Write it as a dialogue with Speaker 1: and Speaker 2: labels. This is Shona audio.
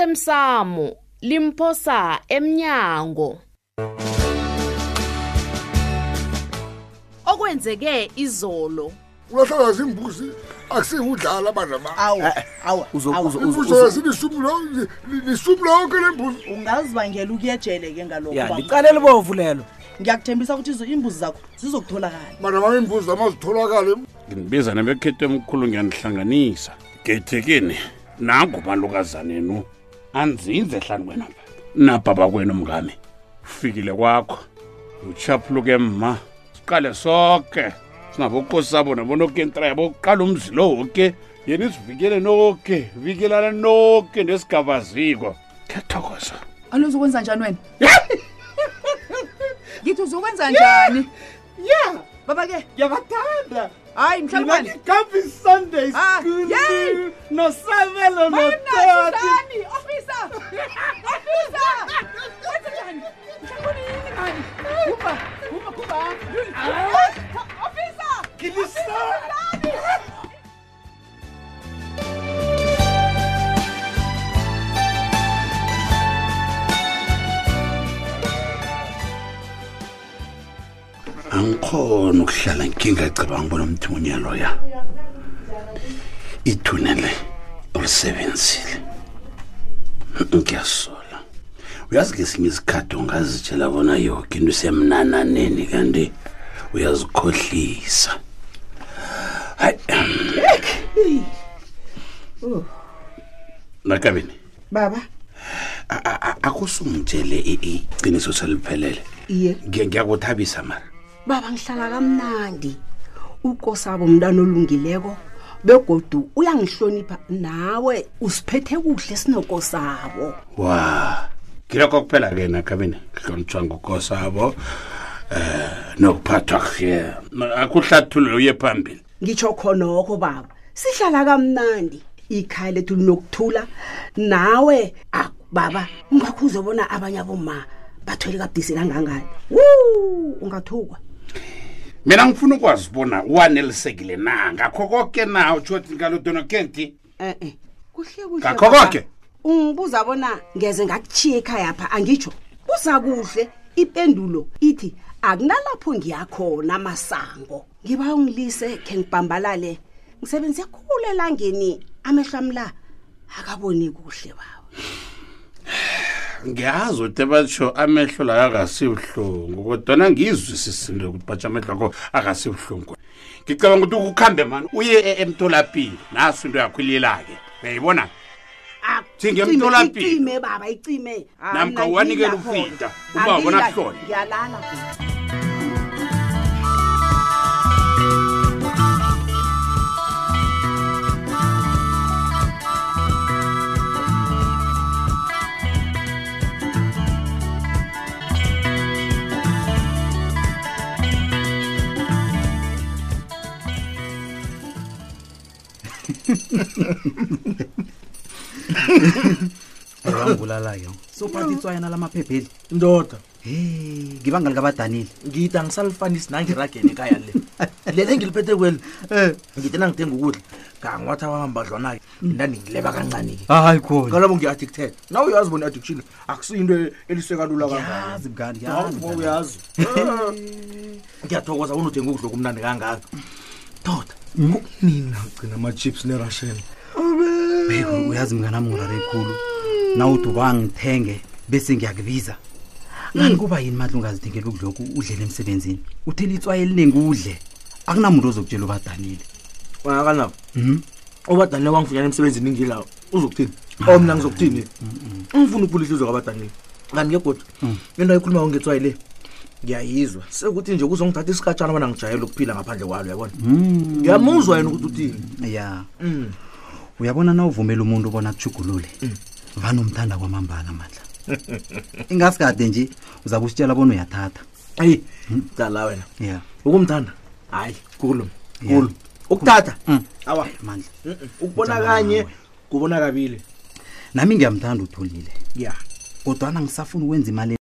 Speaker 1: osemsamo limphosa emnyango okwenzeke izolo
Speaker 2: ulahlakaza imbuzi akusingudlala bandla ba
Speaker 3: Ah,
Speaker 4: awu
Speaker 5: Eh,
Speaker 4: awu
Speaker 6: Uzo-
Speaker 4: awu.
Speaker 6: uzo-
Speaker 2: imbuzi yasi lisumi lo- li- lisumi lonke le mbuzi
Speaker 4: ungazibangela ukuyejele ke
Speaker 6: ya
Speaker 4: ngalokho
Speaker 6: licala elibovu lelo
Speaker 4: ngiyakuthembisa ukuthi izo- imbuzi zakho zizokutholakala
Speaker 2: bandla bam imbuzi amazitholakale
Speaker 7: nginibiza nebekhetho emkhulu ngiyanihlanganisa gethekini nangu malukazanenu anzinze hlani kwena nabhaba kwenu mngami ufikile kwakho uchaphuluke mma siqale soke singabokosi sabo nabonokentraya bokuqala umzi lo woke yena isivikele noke vikelana noke nesigaba ziko kuyathokoza
Speaker 3: alo uzokwenza njani wena ngithi uzokwenza njani
Speaker 5: ya
Speaker 3: baba ke
Speaker 5: ngiyabathanda
Speaker 3: hayi
Speaker 5: mina
Speaker 3: mhlawumbe
Speaker 5: ngikambi sunday
Speaker 3: Ah,
Speaker 5: school
Speaker 3: yey!
Speaker 5: nosabelo nototi
Speaker 3: Mani, officer! Officer! Wenza njani? Mhlawumbe yini mani? Hupha, hupha, hupha. Officer!
Speaker 7: angikhona ukuhlala ngingacabanga bona umthunya loya ithunele ulisebenzile ngiyasola uyazi ngesinye isikhathi ungazitshela bona yoke into isemnananeni kanti uyazikhohlisa hayi nakabini
Speaker 4: baba
Speaker 7: akusungitshele iqiniso seliphelele
Speaker 4: iye
Speaker 7: Ngiya- ngiyakuthabisa mara
Speaker 8: baba ngihlala kamnandi ukosabo umntana olungileko begodu uyangihlonipha nawe usiphethe kuhle sinokosabo
Speaker 7: wa kiloko kuphela ke nakabini kuhlonitshwa ngokosabo eh nokuphathwa kuhle akuhlathulule uye phambili
Speaker 8: ngitsho khonokho baba sihlala kamnandi ikhaya lethu linokuthula nawe ah, baba ungakho uzobona abanye aboma bathwele kabudisi kangangani wu ungathukwa
Speaker 7: mina ngifuna ukwazibona wanelisekile na ngakho koke na utshoti ngalodonokenti
Speaker 8: e-e kuhle kuhle
Speaker 7: Ngakho
Speaker 8: baba,
Speaker 7: koke?
Speaker 8: ungibuza bona ngeze ngakuchiya ekhaya pha angitsho uza kuhle ipendulo ithi akunalapho ngiyakhona masango ngiba ungilise khe ngibhambalale ngisebenzise khulu elangeni amehlo ami la akaboni kuhle baba
Speaker 7: ngiyazi ukuthi batsho amehlo layo akasibuhlungu kodwana ngiyizwisisile ukuthi batsho amehlo akho akasibuhlungu ngicabanga ukuthi ukuhambe mani uye e- emtholapilo naso into yakho ilila-ke uyayibona
Speaker 8: Ah,
Speaker 7: Njengemtholapilo.
Speaker 8: icime baba icime Ah,
Speaker 7: Namkha
Speaker 8: mina
Speaker 7: uwanikele
Speaker 8: ngilapho-ke.
Speaker 7: ufida, ubaba bona
Speaker 8: Angila-
Speaker 7: kuhlole.
Speaker 8: ngiyalala
Speaker 6: angibulala-ke
Speaker 4: sophatha itswayana lamaphepheli
Speaker 5: ndoda
Speaker 4: he ngibanga likabadanile
Speaker 5: ngithi angisalifanisi nangiragene kaya le lele ngiliphethe kweli ngithi nangithenga ukudla kangwathi abambadlwana-ke
Speaker 4: Mm.
Speaker 5: naningileba kancane-ke
Speaker 4: hayi khona
Speaker 5: kalobo ngiyi-addicted nawe uyazi bona i-addiction akusiyinto elisekalula kangako
Speaker 4: yazi mngani
Speaker 5: Hawu,
Speaker 4: yazi
Speaker 5: uyazi ngiyathokoza bona uthenga ukudla kumnandi kangaka
Speaker 4: Tota.
Speaker 5: doda
Speaker 4: nini
Speaker 2: gcina ama-chips nerasheni
Speaker 4: uyazi mngani ami ngirare khulu nawuthi ubangithenge bese ngiyakbiza kanti kuba yini madla ungazithengela ukudlokhu udlele emsebenzini uthela itswaye eliningi udle akunamuntu ozokutshela ubadanile
Speaker 5: wanakanabo
Speaker 4: Mhm.
Speaker 5: ubadanile wangifunyana emsebenzini ngilawo uzokuthini
Speaker 4: Ah.
Speaker 5: o mna ngizokuthini
Speaker 4: Mhm,
Speaker 5: ngifuna ukhula ihlizwe kwabadanile kanti ngegoda into ayikhulumayo ngetswayi le ngiyayizwa sekuthi nje kuzongithatha isikatshana bona ngijayele ukuphila ngaphandle kwalo uyabona
Speaker 4: Mhm.
Speaker 5: ngiyamuzwa yena ukuthi uthini
Speaker 4: ya
Speaker 5: Mm.
Speaker 4: uyabona na uvumela umuntu ubona kuchugulule vanomthanda kwamambala mandla ingasikade nje uza kusitshela bona uyathatha
Speaker 5: eyi
Speaker 4: Mhm.
Speaker 5: dala wena
Speaker 4: ya
Speaker 5: ukumthanda hayi kulo
Speaker 4: Yeah.
Speaker 5: kulo ukuthatha
Speaker 4: Mm.
Speaker 5: awa
Speaker 4: mandla
Speaker 5: Mm-mm. ukubona
Speaker 4: Ngicabanga
Speaker 5: kanye
Speaker 4: nawe.
Speaker 5: kubona kabili
Speaker 4: nami ngiyamthanda utholile
Speaker 5: ya yeah.
Speaker 4: kodwana ngisafuna ukwenza imali